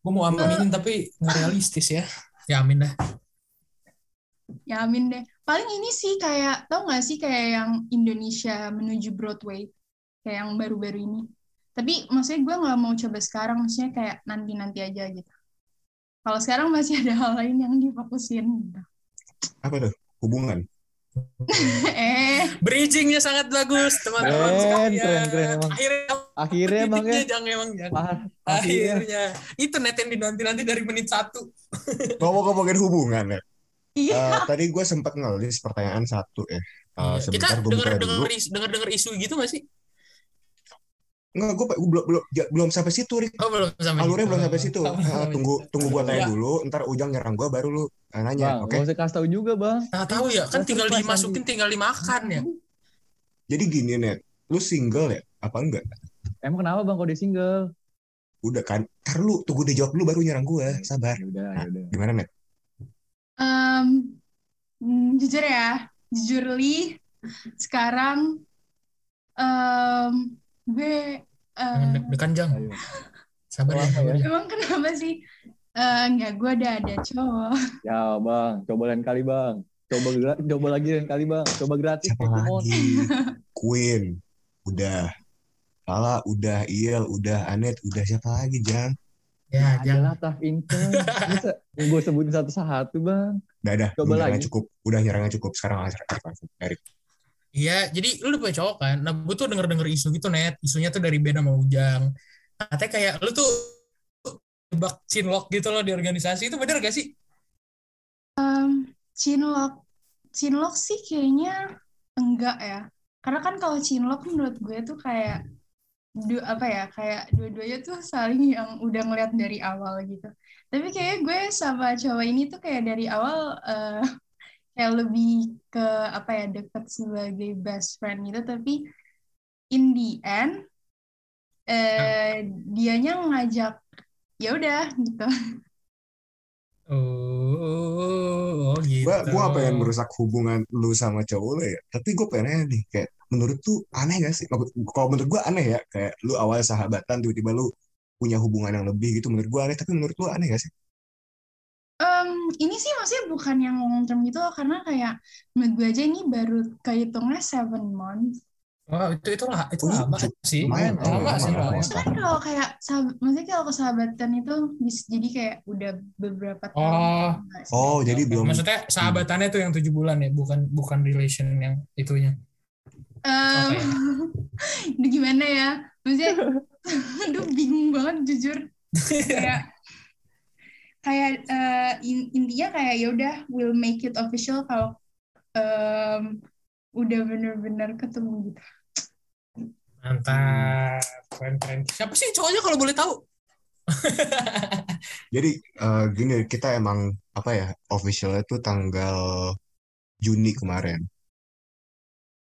Gue mau aminin tapi nggak realistis ya. Ya amin dah.
Ya amin deh. Paling ini sih kayak, tau nggak sih kayak yang Indonesia menuju Broadway, kayak yang baru-baru ini. Tapi maksudnya gue nggak mau coba sekarang, maksudnya kayak nanti-nanti aja gitu. Kalau sekarang masih ada hal lain yang difokusin. gitu.
Apa tuh? Hubungan.
eh,
Bridgingnya sangat bagus teman-teman
Keren,
sekalian.
keren, keren emang.
Akhirnya
Akhirnya bang ya.
bridgingnya jangan emang jangan.
Ah,
ya.
Akhirnya.
Akhirnya.
Itu net yang dinanti-nanti dari menit satu.
Ngomong-ngomongin hubungan ya.
iya.
Eh, tadi gue sempat ngelis pertanyaan satu ya. Eh,
Iya. Kita
sebentar gue buka
denger
dulu.
denger isu, denger denger isu gitu gak sih?
Enggak, gue belum belum ja- belum sampai situ, Rick.
Oh belum sampai.
Alurnya
situ.
belum sampai situ.
Belum
Eh,
sampai
tunggu
situ.
tunggu gue
Iya.
tanya dulu. Ntar Ujang nyerang gue baru lu eh, nanya,
Bang, oh.
oke?
nggak usah kasih tahu juga bang.
Nah tahu ya kan
Terus
tinggal
pas
dimasukin tinggal dimakan ya.
Jadi gini net, lu single ya? Apa enggak?
Emang kenapa bang kalau dia single?
Udah kan? Ntar lu tunggu dia jawab dulu baru nyerang gue. Eh, Sabar.
Ya udah, ya udah.
Gimana net?
Em, mm, jujur ya, jujur Li, sekarang em, gue
Jangan
eh,
deg-degan Jang.
Ayo.
Sabar ya.
Apa
sabar ya.
emang kenapa sih? Eh, enggak, gue udah ada cowok.
Ya bang, coba lain kali bang. Coba gra- coba lagi lain kali bang. Coba gratis.
Siapa
Pokemon.
lagi? Queen. Udah. Lala udah, Iel udah, Anet udah. Siapa lagi, Jang?
Ya
Nah,
Ya,
Jang.
adalah tough income. Masa gue sebutin satu-satu bang.
Udah, udah.
Coba
Nyerangnya
lagi.
cukup. Udah nyerangnya cukup. Sekarang langsung. langsung. Erik.
Iya, jadi lu udah punya cowok kan? Nah, gue tuh denger-denger isu gitu, Net. Isunya tuh dari Ben sama Ujang. Katanya kayak, lu tuh bak cinlok gitu loh di organisasi. Itu bener gak sih?
Cinlok, cinlok sih kayaknya enggak ya. Karena kan kalau cinlok menurut gue tuh kayak du, apa ya kayak dua-duanya tuh saling yang udah ngeliat dari awal gitu. Tapi kayaknya gue sama cowok ini tuh kayak dari awal eh, kayak lebih ke apa ya deket sebagai best friend gitu. Tapi in the end eh dianya ngajak ya udah gitu.
Oh, oh gitu.
Gue gua gak pengen merusak hubungan lu sama cowok lu ya. Tapi gue pengen nanya nih. Kayak menurut tuh aneh gak sih? Maksud- Kalau menurut gue aneh ya. Kayak lu awal sahabatan tiba-tiba lu punya hubungan yang lebih gitu. Menurut gue aneh. Tapi menurut lu aneh gak sih?
Em, ini sih maksudnya bukan yang long term gitu loh, karena kayak menurut gue aja ini baru kehitungnya seven months.
Wah, itu, itu, lah, itu
Oh,
lama sih.
Lumayan.
lama sih. Lama.
lama, lama.
Kan kalau kayak, sahab- maksudnya kalau kesahabatan itu bisa jadi kayak udah beberapa tahun.
Oh,
nggak sih?
Oh, jadi belum
maksudnya sahabatannya tuh yang tujuh bulan ya, bukan bukan relation yang itunya.
Em,
Oke.
aduh, gimana ya? Maksudnya, aduh bingung banget jujur. Kayak, kayak eh, in- intinya kayak ya udah we'll make it official kalau em, udah bener-bener ketemu gitu.
Mantap,
Hmm.
keren keren. Siapa sih cowoknya kalau boleh tahu?
Jadi eh, gini kita emang apa ya officialnya tuh tanggal Juni kemarin.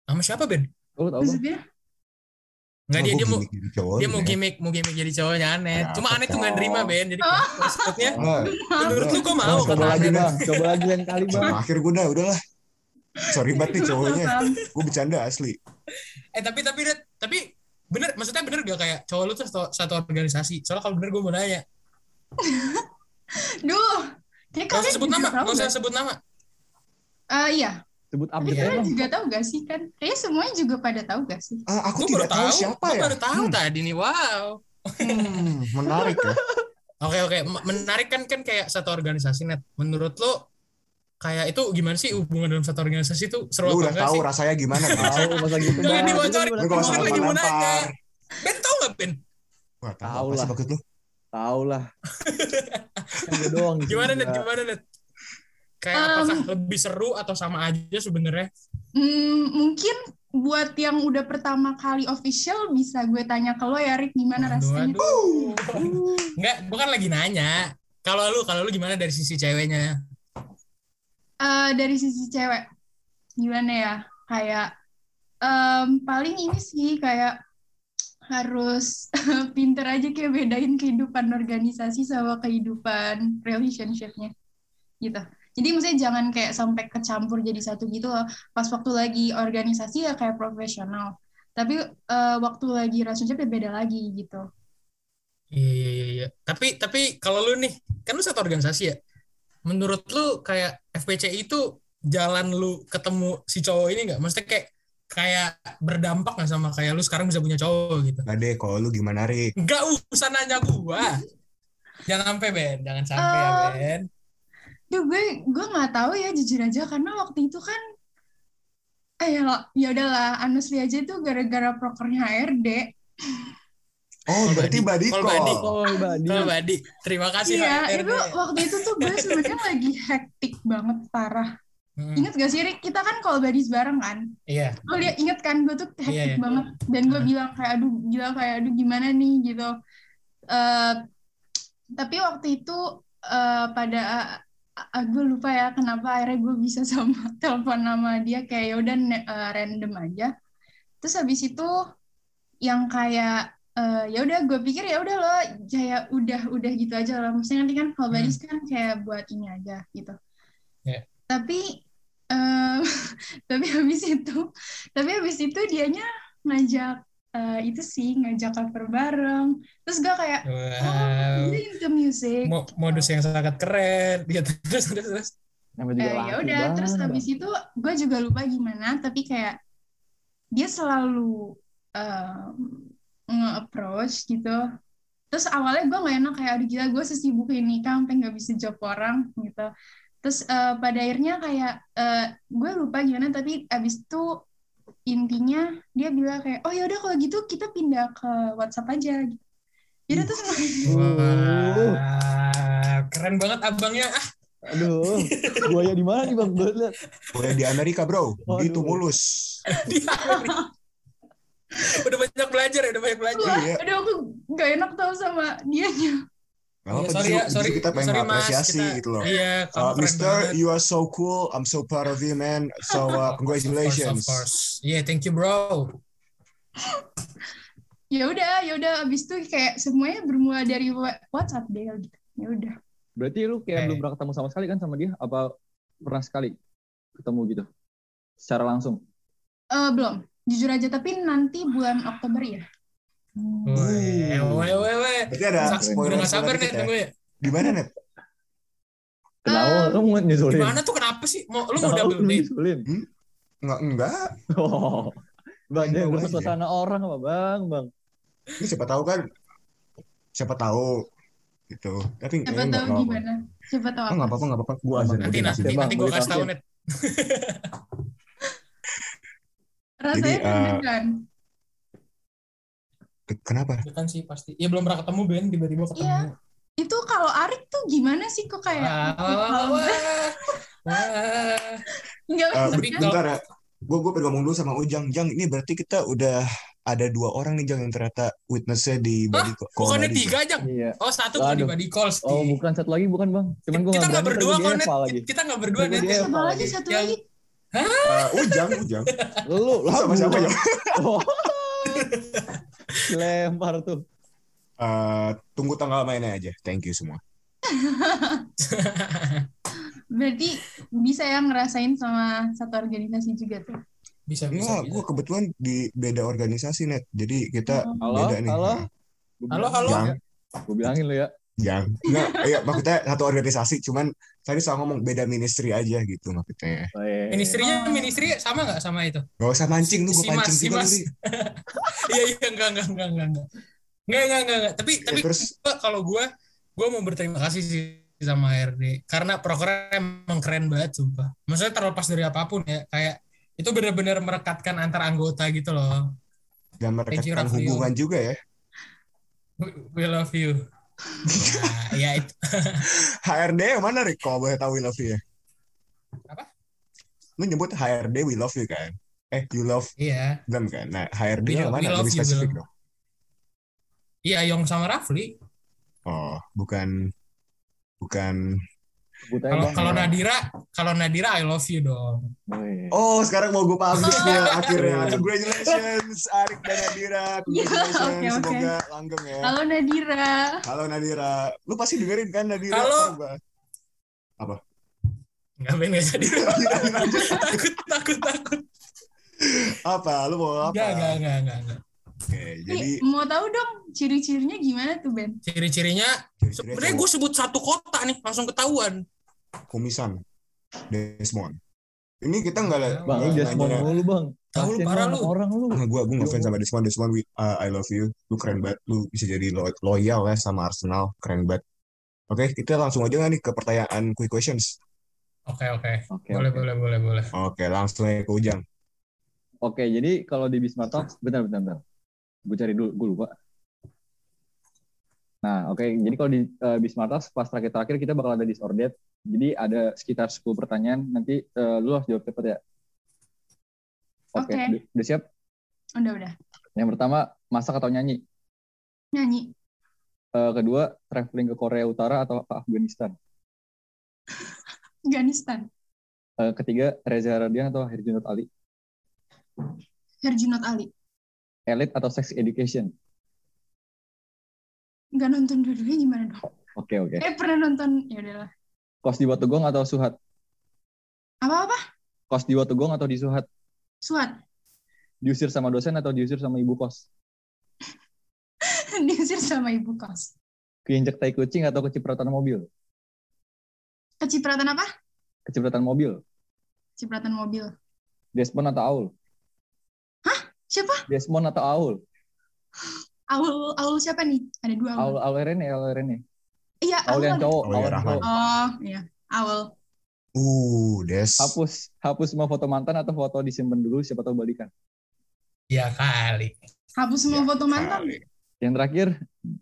Sama siapa Ben?
Lo tau bang?
Maksudnya,
Nggak dia
Nah,
dia
gua
mau
gimmick iya. jadi cowok
dia mau
gimana?
gimmick mau gimmick jadi cowoknya aneh.
Ada
Cuma
apa,
aneh tuh nggak
Kak?
nerima Ben. Jadi
Ah.
maksudnya
Nah,
menurut lu gue mau
Bang,
kata
coba lagi
Aneh.
bang. Coba lagi lain kali bang.
sama akhir gue udah udahlah. Sorry banget nih cowoknya. Gue bercanda asli.
Eh tapi tapi Red, tapi bener maksudnya bener gak kayak cowok lu tuh satu, satu organisasi. Soalnya kalau bener gue mau nanya.
Duh, kayak
Gak usah
kalian
sebut
juga
nama,
tahu
gak usah
nggak?
sebut nama.
Eh, iya,
Sebut
tapi
update ya
kalian
bang.
juga tahu gak sih kan? Kayaknya semuanya juga pada tahu gak sih?
Ah, aku
Gue baru
tidak tahu
tahu,
siapa
gue
ya.
baru tahu
Hmm,
tadi nih. Wow.
hmm, menarik ya.
Oke oke, M- menarik kan kan kayak satu organisasi net. Menurut lo kayak itu gimana sih hubungan dalam satu organisasi itu seru
Lu
apa
udah
enggak
tahu
sih?
rasanya gimana kan?
Tahu masa gitu
Jangan
bang.
dibocorin.
Lu
Lu
udah
kalau
Gua
tahu.
sama
sama
lagi mau
nampar.
Ben tau gak Ben?
Wah, tahu
Tahu
apa sih
lah.
maksud lu?
Tahu lah. Kan gua doang. di
Gimana
sini,
net?
Iya.
Bang.
Gimana net? Kayak
Um.
apakah lebih seru atau sama aja sebenarnya?
Hmm, mungkin buat yang udah pertama kali official bisa gue tanya ke lo ya Rick gimana rasanya?
Aduh,
Uh.
aduh. Enggak, gue kan lagi nanya. Kalau lu, kalau lu gimana dari sisi ceweknya?
Eh, dari sisi cewek gimana ya kayak em, paling ini sih kayak harus pinter aja kayak bedain kehidupan organisasi sama kehidupan relationshipnya gitu jadi maksudnya jangan kayak sampai kecampur jadi satu gitu loh pas waktu lagi organisasi ya kayak profesional tapi eh, waktu lagi relationship ya beda lagi gitu
Iya, iya, iya, iya. Tapi, tapi kalau lu nih, kan lu satu organisasi ya. Menurut lu kayak FPC itu jalan lu ketemu si cowok ini nggak? Maksudnya kayak kayak berdampak nggak sama kayak lu sekarang bisa punya cowok gitu?
Nggak deh, kalau lu gimana Rik?
Nggak usah nanya gua. Jangan sampai Ben, jangan sampai ya
Eh,
Ben.
Duh, gue gue nggak tahu ya jujur aja karena waktu itu kan eh ya, ya udahlah honestly aja tuh gara-gara prokernya HRD
Oh, berarti
Badi.
badiko.
Kalau Badi.
Oh, Badi.
Kalau Badi, terima kasih
iya
HRD.
itu waktu itu tuh gue sebenarnya lagi hektik banget parah
Hmm,
ingat gak sih Rick kita kan kalau badis bareng kan
Iya.
lo liat inget kan gue tuh
Iya, iya.
hektik banget dan gue
Hmm.
bilang kayak aduh gila kayak aduh gimana nih gitu Eh, tapi waktu itu eh, pada ah, gue lupa ya kenapa akhirnya gue bisa sama telepon nama dia kayak yaudah ne- eh, random aja terus habis itu yang kayak eh, ya udah gue pikir ya udah lo kayak udah udah gitu aja lah maksudnya nanti kan kalau
Hmm.
badis kan kayak buat ini aja gitu
Iya.
tapi eh, tapi habis itu tapi habis itu dianya ngajak eh, itu sih ngajak cover bareng terus gue kayak
Wow.
oh ini into music
Mo- modus yang sangat keren. Iya, terus terus terus.
Namanya juga
Eh,
laki
ya udah terus
banget.
habis itu gue juga lupa gimana tapi kayak dia selalu um, nge-approach gitu terus awalnya gue nggak enak kayak aduh gila gue sesibuk ini kan sampai nggak bisa jawab orang gitu terus eh, pada akhirnya kayak eh, gue lupa gimana tapi abis itu intinya dia bilang kayak oh yaudah kalau gitu kita pindah ke WhatsApp aja gitu. Yaudah terus
Uh. Wah, keren banget abangnya. Ah,
Aduh, buaya di mana nih bang? Gue liat.
Boleh di Amerika, bro.
Waduh.
Begitu mulus.
dia udah banyak belajar, ya, udah banyak belajar.
Iya.
aduh aku nggak enak tau sama dianya
Gak
Iya, sorry
apa-apa, justru-
ya, sorry.
justru kita pengen
Sorry, Mas,
apresiasi
kita-
gitu loh.
Iya, kamu
Uh,
keren
Mister,
banget.
you are so cool. I'm so proud of you, man. So,
Of course,
uh,
Of
congratulations.
course, of course. Yeah, thank you, bro.
ya udah ya udah abis itu kayak semuanya bermula dari wa- WhatsApp deh gitu ya udah
Berarti lu
Eh.
kayak belum pernah ketemu sama sekali kan sama dia? Apa pernah sekali ketemu gitu? Secara langsung?
Eh, belum jujur aja tapi nanti bulan Oktober ya
Hmm.
Weh, weh, weh, weh.
Berarti ada
Sak- Udah
spoiler
gak sabar, Net,
dikit ya.
nunggu ya.
Di mana, Net?
Kenapa? lu mau nyusulin?
Gimana tuh, kenapa sih? Mau, lu mau
Kenapa
double
lu
date?
nyusulin?
Enggak, enggak.
Oh. Bang,
Enggak
jangan
boleh.
rusak suasana orang apa bang, bang.
Ini siapa tahu kan. Siapa tahu. Gitu. Tapi
siapa
eh,
tahu
nggak apa-apa.
gimana siapa tahu
Ah, nggak apa-apa, nggak apa-apa. Gue aja.
Nanti, nanti,
Boleh kasih, Bang,
nanti gue
boleh
kasih tau,
kasih.
Net.
rasanya
Jadi, eh,
deg-degan
Kenapa?
Bukan sih, pasti. Ya, belum pernah ketemu, Ben. Tiba-tiba ketemu.
Iya. itu kalau Arik tuh gimana sih kok kayak
Wah, Ah, wah, wah, wah. Wah.
nggak
Eh,
Tapi
ben-
kalau-
bentar ya. Gue gue pengen ngomong dulu sama Ujang. Jang, ini berarti kita udah ada dua orang nih Jang yang ternyata witnessnya di
Hah?
body call.
Bukannya
body call.
tiga aja?
Iya.
Oh, satu tuh di
Waduh.
body calls.
Oh
Di.
bukan satu lagi bukan bang. Cuman gue
kita nggak berdua kok, Net.
apa lagi.
Kita nggak berdua,
Ntar
Net.
gue di
siapa
Eva
lagi satu
Yang-
lagi
Eh, Ujang, Ujang.
Lu lah
Sama siapa,
gua.
Jang?
Oh. Lempar tuh.
Eh, tunggu tanggal mainnya aja. Thank you semua.
berarti bisa ya ngerasain sama satu organisasi juga tuh
Bisa, bisa, bisa.
Enggak, gue kebetulan di beda organisasi net. Jadi kita
Oh.
Halo,
beda nih.
halo.
Halo, halo.
Jang,
Gue bilangin lu ya.
Jang. Enggak, iya maksudnya satu organisasi. Cuman tadi sama ngomong beda ministry aja gitu maksudnya.
Ministrinya,
Oh.
ministri sama nggak sama itu?
Gak usah mancing lu, gue
Si Mas,
pancing
si
juga lu,
Mas.
Ri.
Iya, iya, enggak, enggak, enggak, enggak, enggak. Enggak, enggak, enggak, enggak. Tapi,
Ya,
tapi
terus
gua- kalau gue, gue mau berterima kasih sih sama HRD. Karena prokernya emang keren banget, sumpah. Maksudnya terlepas dari apapun ya, kayak itu benar-benar merekatkan antar anggota gitu loh.
dan
Thank you,
merekatkan
Rafael.
hubungan juga ya.
We, we love you. Nah, ya itu.
HRD yang mana Rick? Kalau boleh tahu We Love You ya?
Apa?
Lu nyebut HRD We Love You kan? eh you love
Iya.
them kan nah HRD
We
nya
love- we
mana
love
lebih
you,
spesifik dong
Iya, Yong sama Rafli.
oh bukan bukan
Sebut aja
Kalau
bang.
kalau Nadira, kalau Nadira I love you dong.
Weh.
oh sekarang mau gue publish nih akhirnya congratulations Arik dan Nadira
Ya,
congratulations
oke, oke.
semoga langgeng ya
Halo Nadira.
halo Nadira lu pasti dengerin kan Nadira
Halo.
Tahu gua.
Enggak pengen nggak jadi. takut takut takut.
apa lu mau apa
Enggak enggak enggak enggak. enggak.
oke jadi
Nih, mau tahu dong ciri-cirinya gimana tuh Ben?
Ciri-cirinya
ciri-cirinya
sebenarnya
cowok
gue sebut satu kota nih langsung ketahuan.
komisan Desmond ini kita nggak lah
Bang, lu
Iya,
Desmond
iya.
mulu bang.
Tahu lu
Kasian
parah
banget
lu.
Orang lu.
Nah, gue gue ngefans sama Desmond. Desmond, we, uh, I love you. Lu keren banget. Lu bisa jadi lo- loyal ya sama Arsenal. Keren banget. Oke, kita langsung aja nggak nih ke pertanyaan quick questions.
Oke oke.
Oke.
Boleh
oke.
boleh boleh boleh.
Oke, langsung aja ke Ujang.
Oke, jadi kalau di Bisma Talks, bentar, bentar, bentar. Gue cari dulu, gue lupa. Nah, oke, jadi kalau di eh, Bisma Talks, pas terakhir-terakhir kita bakal ada disordered. Jadi ada sekitar 10 pertanyaan, nanti eh, lu harus jawab cepet ya. Oke,
Oke.
udah- udah siap?
Udah udah.
Yang pertama, masak atau nyanyi?
Nyanyi.
Eh, kedua, traveling ke Korea Utara atau ke Afghanistan?
Afghanistan.
Eh, ketiga, Reza Radian atau Herjunot Ali?
Herjunot Ali.
Elite atau Sex Education?
Nggak nonton dua-duanya gimana dong?
Oke, oke.
Eh pernah nonton ya udahlah.
Kos di Watugong atau Suhat?
Apa-apa?
Kos di Watugong atau di Suhat?
Suat.
Diusir sama dosen atau diusir sama ibu kos?
Diusir sama ibu kos.
keinjak tai kucing atau kecipratan mobil?
Kecipratan apa?
Kecipratan mobil.
Cipratan mobil.
Desmond atau Aul?
Siapa?
Desmond atau Aul?
Aul Aul siapa nih? Ada dua
Aul
Aul.
Aul Rene, Aul Rene.
Iya,
Aul yang
ada.
cowok, Aul
Aul yang
yang
Rahman.
cowok.
Oh, iya. Aul.
Uh, Des.
Hapus, hapus semua foto mantan atau foto disimpan dulu siapa tahu balikan.
Ya kali.
Hapus semua
Iya,
Ya,
foto mantan.
kali.
Yang terakhir,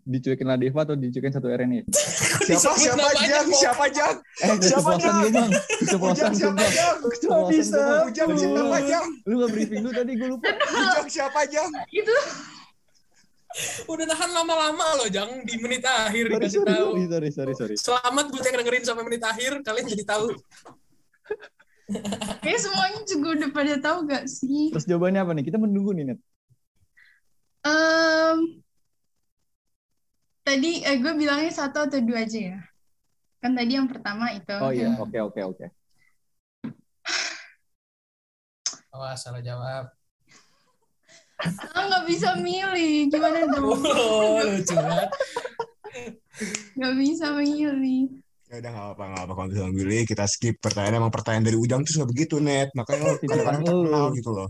dicuekin Ladiva atau dicuekin satu RNE?
Siapa
Disebut
siapa
namanya,
Jang?
kok.
Siapa Jang?
Eh,
Siapa
keceplosan
dia?
lu bang,
Ujang
keceplosan lu
siapa
bang.
Jang?
Keceplosan
bisa.
lu, Bang.
Ujang
Lu-
siapa Jang?
Lu nggak briefing lu tadi, gue lupa.
Ujang siapa Jang?
Itu
Udah tahan lama-lama loh, jangan di menit akhir
Sorry,
dikasih
sorry,
tahu.
sorry, sorry, sorry, sorry.
Selamat gue yang dengerin sampai menit akhir, kalian jadi tahu.
kayak Eh, semuanya juga udah pada tahu gak sih?
Terus jawabannya apa nih? Kita menunggu nih, Net.
Em, tadi eh, gue bilangnya satu atau dua aja ya. Kan tadi yang pertama itu.
Oh iya, oke, oke, oke.
Awas, salah jawab.
Ah, nggak bisa milih. Gimana dong?
Oh, lucu banget.
Nggak bisa milih.
Ya udah nggak apa-apa, nggak apa-apa. Kalau misalnya milih, kita skip pertanyaan. Emang pertanyaan dari Ujang tuh suka begitu, Net. Makanya
Titipan
kadang-kadang
lu.
terkenal gitu loh.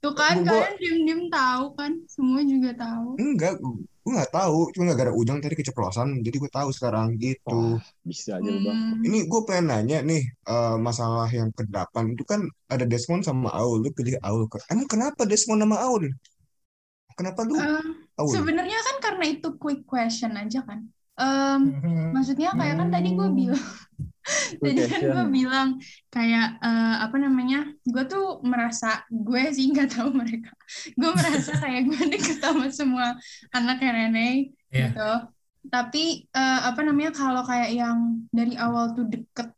Tuh kan
Gua-
kalian diem-diem tahu kan? Semua juga tahu.
Enggak, gue nggak tahu. Cuma gara-gara Ujang tadi keceplosan, jadi gue tahu sekarang gitu.
Wah, bisa aja lu, Bang.
Hmm,
Ini gue pengen nanya nih, eh, masalah yang kedelapan itu kan ada Desmond sama Aul, lu pilih Aul. Ke- Emang kenapa Desmond sama Aul? Kenapa lu
eh,
Aul?
sebenarnya kan karena itu quick question aja kan. Em, maksudnya kayak kan tadi gue bilang tadi kan gue bilang kayak eh, apa namanya gue tuh merasa gue sih nggak tahu mereka gue merasa kayak gue deket sama semua anak
Iya.
Rene gitu tapi eh, apa namanya kalau kayak yang dari awal tuh deket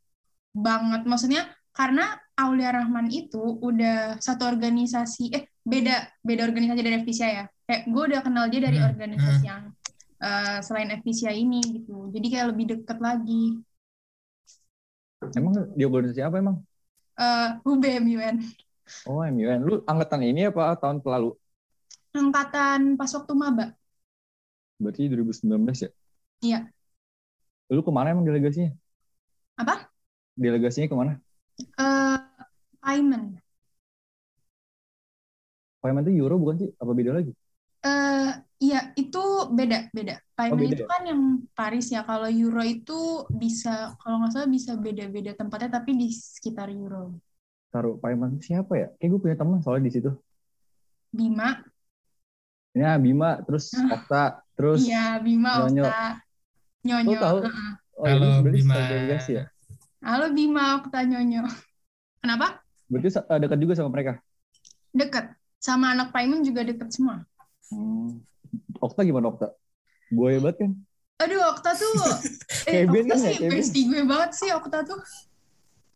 banget maksudnya karena Aulia Rahman itu udah satu organisasi eh beda beda organisasi dari FPCI ya kayak gue udah kenal dia dari
Hmm,
organisasi yang eh, selain FPCI ini gitu jadi kayak lebih deket lagi
Emang di organisasi apa emang?
eh UBM UN
Oh, MUN. Lu angkatan ini apa tahun lalu?
angkatan pas waktu maba
Berarti 2019 ya?
Iya.
Lu kemana emang delegasinya?
Apa?
Delegasinya kemana?
eh Paiman
Payment itu Euro bukan sih? Apa beda lagi?
eh iya itu beda beda Paiman
beda ya?
itu kan yang Paris ya kalau Euro itu bisa kalau nggak salah bisa beda beda tempatnya tapi di sekitar Euro
Taruh payment itu siapa ya? Kayak gue punya teman soalnya di situ.
Bima
Ya Bima, terus
Ah.
Okta, terus
iya Bima
Nyonyo.
Okta
lu
Nyonyo
tahu?
Heeh.
Oh, ini
Halo,
berarti
Bima.
satu delegasi ya?
halo Bima Okta Nyonyo kenapa
Berarti sa- eh, dekat juga sama mereka.
Deket. Sama anak Paimun juga deket semua.
Hmm. Okta gimana Okta? Buaya banget kan?
Aduh, Okta tuh... eh,
Kevin
Okta
kan ya,
sih
Kevin?
bestie gue banget sih Okta tuh.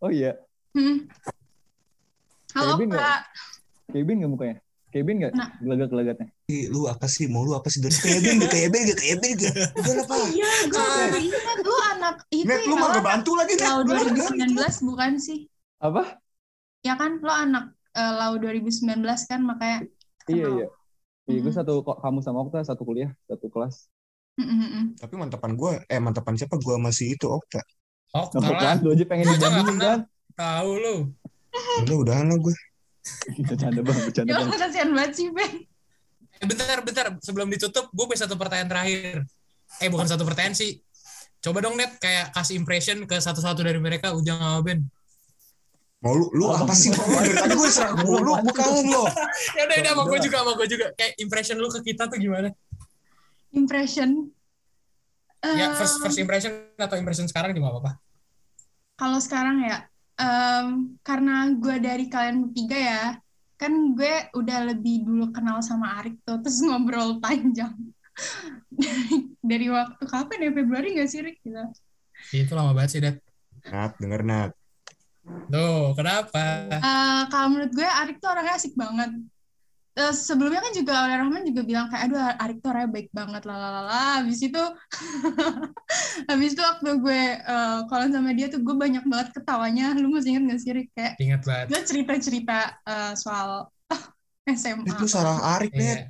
Oh iya,
Hmm. Halo,
Kevin
Okta.
Kevin nggak mukanya? Kevin nggak?
Nah.
Gelagat-gelagatnya.
Ih, lu apa sih mau lu apa sih dari kayak ben kayak ben kayak ben udah lah pak
Iya, gue baru ingat. Lu anak itu
net lu
ya,
mau
lo
gak bantu lagi net
Lau
Lu udah bilang.
2019 bukan sih?
Apa?
Ya kan, lo anak eh, Lau 2019 kan, makanya...
Iya,
kenal.
iya. Iya, gue
Hmm.
satu ko- kamu sama Okta satu kuliah, satu kelas.
Mm-mm-mm.
tapi mantapan gue eh mantapan siapa gue masih itu Okta
Oh,
Nah,
kalah.
kelas lu aja pengen
Lu aja nggak
dibandingin
kenal.
kan?
Tahu lu.
udah udahan lah gue
Gitu, Bercanda bang, bercanda
Ya
bang.
lo kasihan banget sih, Ben.
Eh, bentar, bentar. Sebelum ditutup, gue punya satu pertanyaan terakhir. Eh, bukan satu pertanyaan sih. Coba dong, Net, kayak kasih impression ke satu-satu dari mereka, Ujang sama Ben.
mau lu lu
Apa?
apa sih Gua dari Oh, tadi gue serang mulu lu bukan lo
Ya udah, udah, sama gue juga, sama gue juga. Kayak impression lu ke kita tuh gimana?
Impression.
Ya,
Eh,
first, first impression atau impression sekarang juga nggak apa-apa.
kalau sekarang ya em, karena gue dari kalian bertiga ya kan gue udah lebih dulu kenal sama Arik tuh terus ngobrol panjang dari, dari waktu kapan ya Februari nggak sih Rik gitu
Itu lama banget sih, Dad.
Nat denger Nat
Tuh, kenapa?
Eh, kalau menurut gue Arik tuh orangnya asik banget Eh, sebelumnya kan juga oleh Rahman juga bilang kayak aduh Arik tuh orangnya baik banget lalala habis itu habis itu waktu gue eh, kalau sama dia tuh gue banyak banget ketawanya lu masih inget gak sih Rik kayak
Ingat banget.
gue cerita-cerita eh, soal SMA.
Net lu salah Arik Net
Iya.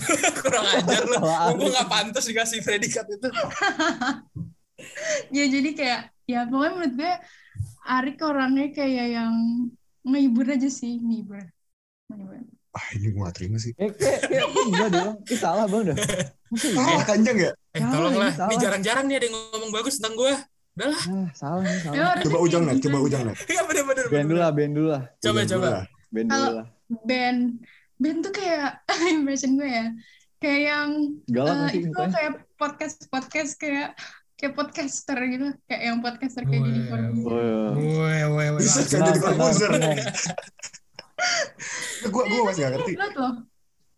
Kurang ajar lu.
Salah
Gue gak pantas dikasih predikat itu.
ya jadi kayak ya pokoknya menurut gue Arik orangnya kayak yang ngehibur aja sih ngehibur. Ngehibur.
ah ini gue gak terima sih
Eh, kayak, kayak, enggak deh bang. Ih, salah bang dah. Masa iya?
ah kanjeng ya
Eh,
Salah,
tolonglah.
ini salah.
Ini jarang-jarang nih ada yang ngomong bagus tentang gue.
Ah, salah nih,
Lo
salah.
harusnya
coba ujang Nat
kayak
coba
gitu.
ujang Iya, Nat
Iya, bener-bener.
Band dulu lah, band dulu lah.
Coba,
Ujang
coba.
dulu lah.
Band dulu
Kalau-
lah.
Ben Ben tuh kayak impression gue ya kayak yang
Galak
eh,
nanti ya.
itu
mukanya.
kayak podcast podcast kayak kayak podcaster gitu kayak yang podcaster kayak
Wah.
jadi
Oh, iya.
Woi, woi, woi.
Bisa
langsung.
kan jadi
Tenang,
komposer.
tenang,
gue gue masih gak ngerti
Banget loh.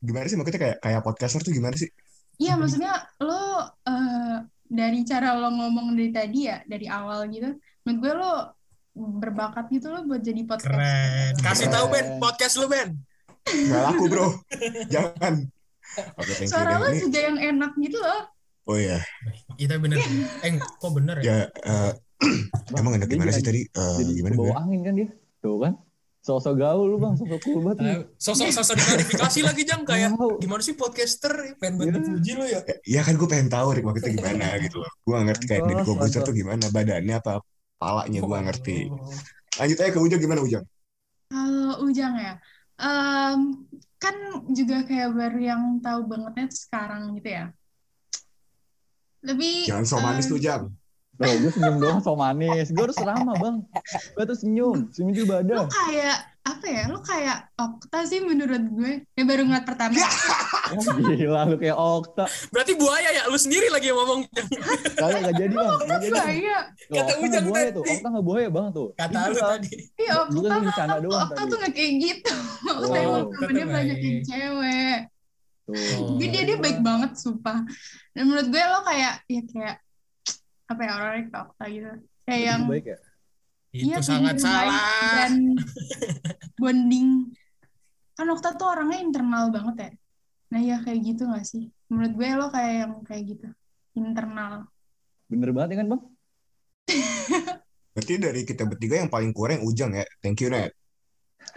gimana sih maksudnya kayak kayak podcaster tuh gimana sih Mm-hmm.
Iya, maksudnya lo eh, dari cara lo ngomong dari tadi ya, dari awal gitu, menurut gue lo berbakat gitu lo buat jadi podcast.
Keren. Kasih tahu Ben, podcast lu Ben.
Gak laku bro Jangan Oke thank you deh.
Suara lo
Ini-
juga yang enak gitu loh.
Oh iya
Kita bener. Eh, kok bener ya?
Ya eh,
Bang,
Emang enak
dia
gimana sih
jadi-
tadi Eh,
Jadi
Gimana
bawa
gue
angin kan dia. Tuh kan. Sosok gaul lu bang, sosok cool banget. lu.
Eh, Sosok-sosok diklarifikasi lagi jang kayak
Tahu.
gimana sih podcaster pengen banget
Iya.
dipuji lu ya
Ya kan gue pengen tahu Rick waktu itu gimana gitu loh Gue gak ngerti kayak
Mantos,
Deddy Kobuzer
mantos.
tuh gimana Badannya
Iya,
apa Palanya gue gak ngerti
Oh.
Lanjut aja ke Ujang gimana Ujang
Kalau Ujang ya, em, kan juga kayak baru yang tahu bangetnya tuh sekarang gitu ya. Lebih
Jangan so manis
em,
tuh Ujang
Tuh, gue senyum doang, so manis. Gue harus ramah bang. Gue tuh senyum, senyum juga
Lo
badan.
kayak apa ya? Lo kayak Okta sih menurut gue. Ya baru ngeliat pertama.
Oh, gila, lu kayak Okta.
berarti buaya ya lu sendiri lagi yang ngomong Jang.
Kagak gak jadi bang.
iya
Gak jadi.
Kata
Tuh,
Kayak
Okta nggak
Ujang
buaya tuh.
tadi.
Okta gak buaya bang tuh.
kata
Gitu,
lu
Bang.
tadi
Iya, Okta
Bukan
kan
mah-
bercanda
Okta-
doang
Okta
tadi.
tuh gak kayak gitu. Okta
Oh,
emang
Okta
temennya
tuh
banyak
baik.
yang cewek.
Tuh.
Oh.
Jadi dia, dia baik banget, sumpah. Dan menurut gue lo kayak, ya kayak, apa ya, orangnya kayak Okta gitu. Kayak yang,
Lebih baik ya.
itu
iya,
sangat
pinter main
salah
Dan bonding. Kan Okta tuh orangnya internal banget ya. Nah ya kayak gitu gak sih? Menurut gue lo kayak yang kayak gitu. Internal.
Bener banget ya kan bang?
Berarti dari kita bertiga yang paling kurang Ujang ya Thank you Net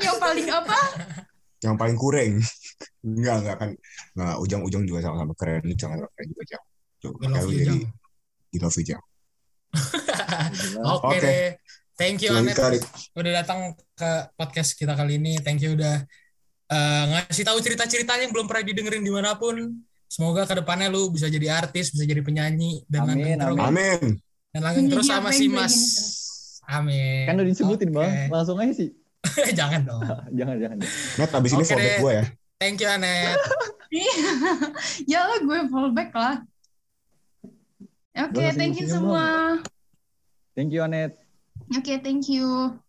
Yang paling apa?
Yang paling kurang Enggak enggak kan Nah Ujang-Ujang juga sama-sama keren Lu jangan keren juga Ujang Tuh,
We love
makanya lu
you,
jadi
Jang.
We love you Ujang
Ah,
Gila.
oke
Oke.
deh thank you Anet
Lanjut ke Arik.
udah datang ke podcast kita kali ini. Thank you udah eh, ngasih tahu cerita-ceritanya yang belum pernah didengerin dimanapun. Semoga kedepannya lu bisa jadi artis, bisa jadi penyanyi dan
Amin,
langgeng terus,
Amin
dan langgeng terus
Menjadi
sama
apa
si
yang gue
Mas.
inginkan.
Amin.
Kan udah disebutin bang.
Oke.
Langsung aja sih. Ah,
Jangan dong.
Jangan, jangan.
Net abis ini
Oke
fallback
deh.
gue ya
Thank you Anet.
Iya. ya lah gue fallback lah. Oke,
Boleh
thank you
senyum-senyum,
semua.
Thank you Anet.
Oke, thank you.